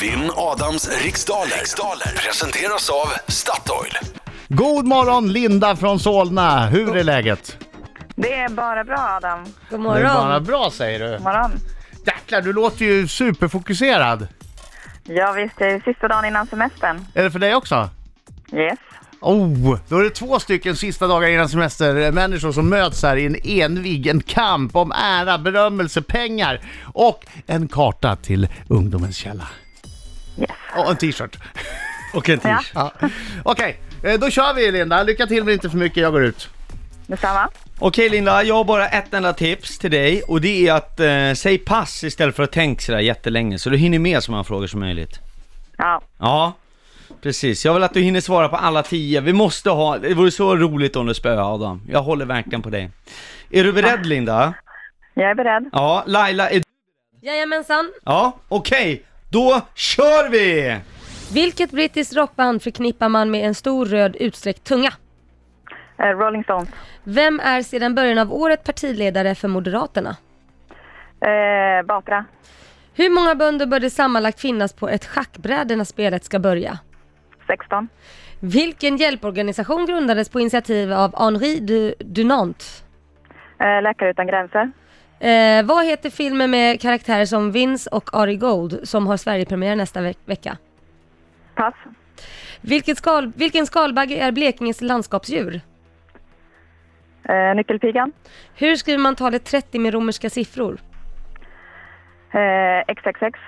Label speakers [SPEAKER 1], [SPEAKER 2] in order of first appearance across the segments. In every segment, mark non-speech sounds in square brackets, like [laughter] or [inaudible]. [SPEAKER 1] Vinn Adams riksdaler. riksdaler presenteras av Statoil.
[SPEAKER 2] God morgon Linda från Solna! Hur är läget?
[SPEAKER 3] Det är bara bra Adam.
[SPEAKER 4] God
[SPEAKER 2] Det
[SPEAKER 4] morgon.
[SPEAKER 2] är bara bra säger du.
[SPEAKER 3] God morgon.
[SPEAKER 2] Jäklar, du låter ju superfokuserad.
[SPEAKER 3] Ja visst, det är sista dagen innan semestern.
[SPEAKER 2] Är det för dig också?
[SPEAKER 3] Yes.
[SPEAKER 2] Oh, då är det två stycken sista dagar innan semester eh, människor som möts här i en envig en kamp om ära, berömmelse, pengar och en karta till ungdomens källa.
[SPEAKER 3] Yes.
[SPEAKER 2] Och en t-shirt.
[SPEAKER 5] Och en
[SPEAKER 3] Ja.
[SPEAKER 5] t-shirt.
[SPEAKER 2] Ja. [laughs] Okej, eh, då kör vi Linda. Lycka till men inte för mycket, jag går ut.
[SPEAKER 3] Detsamma.
[SPEAKER 5] Okej Linda, jag har bara ett enda tips till dig och det är att eh, säg pass istället för att tänka sådär jättelänge så du hinner med så många frågor som möjligt.
[SPEAKER 3] Ja.
[SPEAKER 5] Ja, precis. Jag vill att du hinner svara på alla tio. Vi måste ha, det vore så roligt om du spöade Adam. Jag håller verkligen på dig. Är du beredd Linda?
[SPEAKER 3] Jag är beredd.
[SPEAKER 5] Ja, Laila är
[SPEAKER 4] Jajamensan.
[SPEAKER 5] Ja, okej. Då kör vi!
[SPEAKER 4] Vilket brittiskt rockband förknippar man med en stor röd utsträckt tunga?
[SPEAKER 3] Eh, Rolling Stones.
[SPEAKER 4] Vem är sedan början av året partiledare för Moderaterna?
[SPEAKER 3] Eh, Batra.
[SPEAKER 4] Hur många bönder bör det sammanlagt finnas på ett schackbräde när spelet ska börja?
[SPEAKER 3] 16.
[SPEAKER 4] Vilken hjälporganisation grundades på initiativ av Henri du, Dunant?
[SPEAKER 3] Eh, Läkare utan gränser.
[SPEAKER 4] Eh, vad heter filmen med karaktärer som Vince och Ari Gold som har Sverigepremiär nästa ve- vecka?
[SPEAKER 3] Pass.
[SPEAKER 4] Vilket skal, vilken skalbagge är Blekinges landskapsdjur?
[SPEAKER 3] Eh, nyckelpigan.
[SPEAKER 4] Hur skriver man talet 30 med romerska siffror?
[SPEAKER 3] Eh, XXX.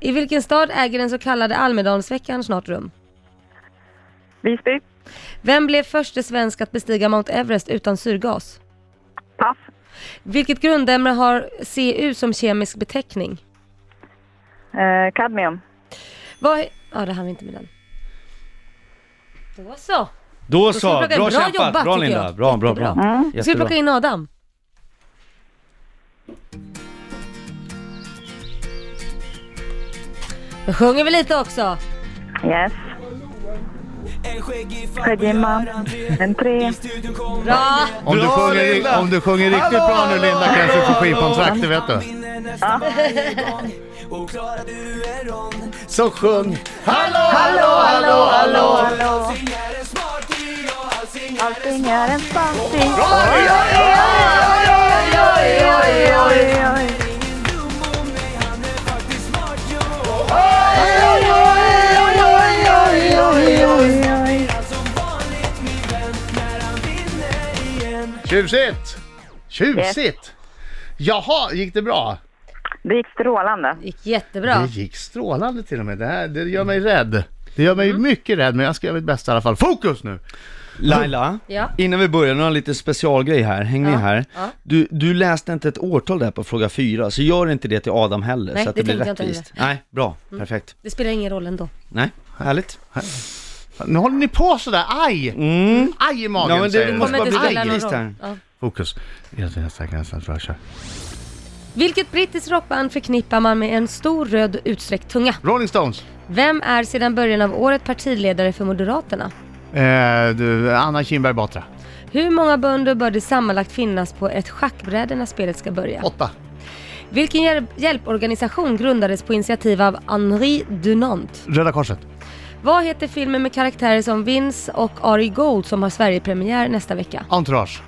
[SPEAKER 4] I vilken stad äger den så kallade Almedalsveckan snart rum?
[SPEAKER 3] Visby.
[SPEAKER 4] Vem blev förste svensk att bestiga Mount Everest utan syrgas?
[SPEAKER 3] Pass.
[SPEAKER 4] Vilket grundämne har CU som kemisk beteckning?
[SPEAKER 3] Eh, kadmium.
[SPEAKER 4] Vad... he- Ja, det hann vi inte med den. Då så.
[SPEAKER 5] Då
[SPEAKER 4] ska vi
[SPEAKER 5] så,
[SPEAKER 4] plocka
[SPEAKER 5] bra
[SPEAKER 4] in. Bra
[SPEAKER 5] kämpat,
[SPEAKER 4] jobbat,
[SPEAKER 5] bra
[SPEAKER 4] tycker
[SPEAKER 5] Linda,
[SPEAKER 4] jag.
[SPEAKER 5] bra, bra, bra.
[SPEAKER 4] Jättebra. Ska vi
[SPEAKER 5] Jättebra.
[SPEAKER 4] plocka in Adam? Då sjunger vi lite också.
[SPEAKER 3] Yes.
[SPEAKER 6] En skäggig
[SPEAKER 3] Skäggig man. En tre.
[SPEAKER 4] Bra!
[SPEAKER 2] Om, du
[SPEAKER 5] Bra,
[SPEAKER 2] sjunger,
[SPEAKER 5] Linda!
[SPEAKER 2] om du sjunger riktigt
[SPEAKER 5] Hallå,
[SPEAKER 2] bra nu
[SPEAKER 5] hallå,
[SPEAKER 2] Linda kanske du får
[SPEAKER 5] hallå,
[SPEAKER 2] skivkontrakt, det vet du. Så sjung! Hallå, hallå, hallå, hallå!
[SPEAKER 3] Allting är en spansing.
[SPEAKER 2] Tjusigt! Tjusigt! Jaha, gick det bra?
[SPEAKER 3] Det gick strålande.
[SPEAKER 4] gick jättebra.
[SPEAKER 2] Det gick strålande till och med. Det, här, det gör mig rädd. Det gör mig mycket rädd, men jag ska göra mitt bästa i alla fall. Fokus nu!
[SPEAKER 5] Laila,
[SPEAKER 4] Ja.
[SPEAKER 5] innan vi börjar, nu har jag en liten specialgrej här, häng med här.
[SPEAKER 4] ja.
[SPEAKER 5] Du, du läste inte ett årtal där på fråga fyra, så gör inte det till Adam heller,
[SPEAKER 4] Nej,
[SPEAKER 5] så att
[SPEAKER 4] det
[SPEAKER 5] det, blir
[SPEAKER 4] tänkte jag inte Mm.
[SPEAKER 5] rättvist. Nej, bra, perfekt.
[SPEAKER 4] Det spelar ingen roll ändå.
[SPEAKER 5] Nej, härligt.
[SPEAKER 2] Nu håller ni på sådär, aj!
[SPEAKER 5] Mm.
[SPEAKER 2] Aj i magen
[SPEAKER 5] Ja, men det-
[SPEAKER 2] säger
[SPEAKER 5] det
[SPEAKER 2] du.
[SPEAKER 5] måste
[SPEAKER 4] Kommer
[SPEAKER 5] bara
[SPEAKER 4] inte
[SPEAKER 5] bli
[SPEAKER 4] spela någon
[SPEAKER 5] äggvist
[SPEAKER 4] roll.
[SPEAKER 5] här.
[SPEAKER 4] Ja.
[SPEAKER 2] Fokus. Jag tror nästa gräns, jag tror jag kör.
[SPEAKER 4] Vilket brittiskt rockband förknippar man med en stor röd utsträckt tunga?
[SPEAKER 2] Rolling Stones.
[SPEAKER 4] Vem är sedan början av året partiledare för Moderaterna?
[SPEAKER 2] Eh, du, Anna Kinberg Batra.
[SPEAKER 4] Hur många bönder bör det sammanlagt finnas på ett schackbräde när spelet ska börja?
[SPEAKER 2] Åtta.
[SPEAKER 4] Vilken hjälp- hjälporganisation grundades på initiativ av Henri Dunant?
[SPEAKER 2] Röda Korset.
[SPEAKER 4] Vad heter filmen med karaktärer som Vince och Ari Gold som har Sverigepremiär nästa vecka?
[SPEAKER 2] Entourage.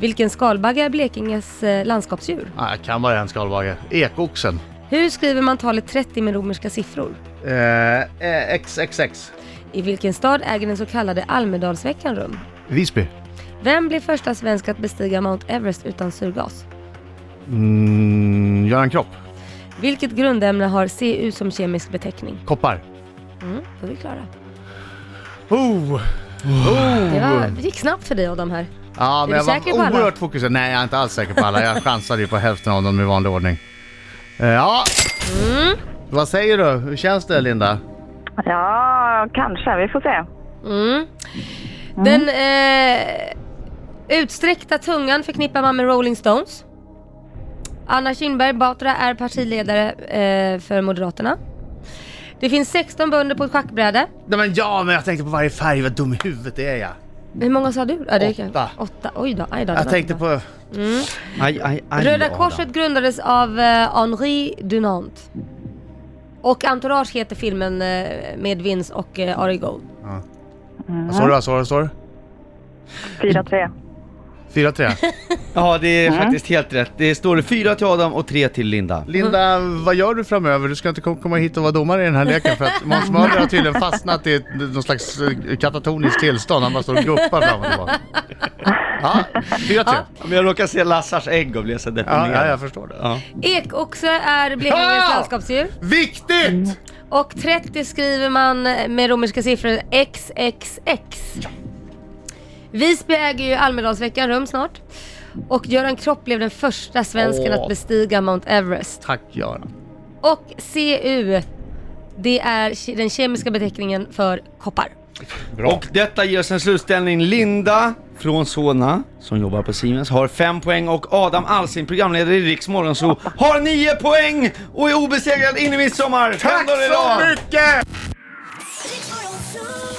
[SPEAKER 4] Vilken skalbagge är Blekinges eh, landskapsdjur?
[SPEAKER 2] Ah, jag kan bara en skalbagge. Ekoxen.
[SPEAKER 4] Hur skriver man talet 30 med romerska siffror?
[SPEAKER 2] Eh, eh, XXX.
[SPEAKER 4] I vilken stad äger den så kallade Almedalsveckan rum?
[SPEAKER 2] Visby.
[SPEAKER 4] Vem blir första svensk att bestiga Mount Everest utan syrgas?
[SPEAKER 2] Mm, Göran Kropp.
[SPEAKER 4] Vilket grundämne har CU som kemisk beteckning?
[SPEAKER 2] Koppar.
[SPEAKER 4] Mm, då är vi klara.
[SPEAKER 2] Oh!
[SPEAKER 4] Det var,
[SPEAKER 2] Mm.
[SPEAKER 4] det gick snabbt för dig Adam här.
[SPEAKER 2] Ja,
[SPEAKER 4] Är
[SPEAKER 2] men
[SPEAKER 4] du
[SPEAKER 2] jag var
[SPEAKER 4] säker på alla?
[SPEAKER 2] oerhört fokuserad. Nej, jag är inte alls säker på alla.
[SPEAKER 4] [laughs]
[SPEAKER 2] Jag chansade ju på hälften av dem i vanlig ordning. Eh, Ja.
[SPEAKER 4] Mm.
[SPEAKER 2] Vad säger du? Hur känns det, Linda?
[SPEAKER 3] Ja, kanske. Vi får se.
[SPEAKER 4] Mm. Den eh,
[SPEAKER 2] Mm.
[SPEAKER 4] utsträckta tungan förknippar man med Rolling Stones. Anna Kinberg Batra är partiledare eh, för Moderaterna. Det finns 16 bönder på ett schackbräde.
[SPEAKER 2] Nej, men ja, men jag tänkte på varje färg. Vad dum i huvudet det är jag.
[SPEAKER 4] Hur många sa du? Ja, det gick-
[SPEAKER 2] Åtta.
[SPEAKER 4] Åtta. Oj då. Aj då det
[SPEAKER 2] Jag
[SPEAKER 4] var
[SPEAKER 2] tänkte
[SPEAKER 4] inte bra.
[SPEAKER 2] på...
[SPEAKER 5] Aj, aj, aj,
[SPEAKER 4] Röda
[SPEAKER 5] Adam.
[SPEAKER 4] Korset grundades av eh, Henri Dunant. Och Entourage heter filmen eh, med Vince och eh, Ari Gold.
[SPEAKER 2] Vad sa du? Vad sa du? Vad sa du?
[SPEAKER 3] 4-3.
[SPEAKER 2] 4-3.
[SPEAKER 5] Ja, det är faktiskt helt rätt. Det står fyra till Adam och tre till Linda.
[SPEAKER 2] Linda, vad gör du framöver? Du ska inte kom- komma hit och vara domare i den här leken för att Måns Möller har tydligen fastnat i ett, någon slags eh, katatoniskt tillstånd. Han bara står och guppar fram och tillbaka. Ja, 4-3. Ja,
[SPEAKER 5] Om jag råkar se Lassars ägg och blir så
[SPEAKER 2] ja,
[SPEAKER 5] deprimerad.
[SPEAKER 2] jag förstår det.
[SPEAKER 5] Ja.
[SPEAKER 4] Ekoxe är Blekinges
[SPEAKER 2] Ja!
[SPEAKER 4] landskapsdjur.
[SPEAKER 2] Viktigt!
[SPEAKER 4] Och 30 skriver man eh, med romerska siffror XXX. Visby äger ju Almedalsveckan rum snart. Och Göran Kropp blev den första svensken
[SPEAKER 2] Åh.
[SPEAKER 4] att bestiga Mount Everest.
[SPEAKER 2] Tack Göran.
[SPEAKER 4] Och CU, det är ke- den kemiska beteckningen för koppar.
[SPEAKER 2] Bra.
[SPEAKER 5] Och detta ger oss en slutställning. Linda från Solna, som jobbar på Siemens, har fem poäng och Adam Alsing, programledare i Riks Morgonzoo, har nio poäng och är obesegrad in i midsommar! Fem
[SPEAKER 2] Tack
[SPEAKER 5] dagar i
[SPEAKER 2] så
[SPEAKER 5] rad.
[SPEAKER 2] mycket!
[SPEAKER 7] Riks Morgonzoo.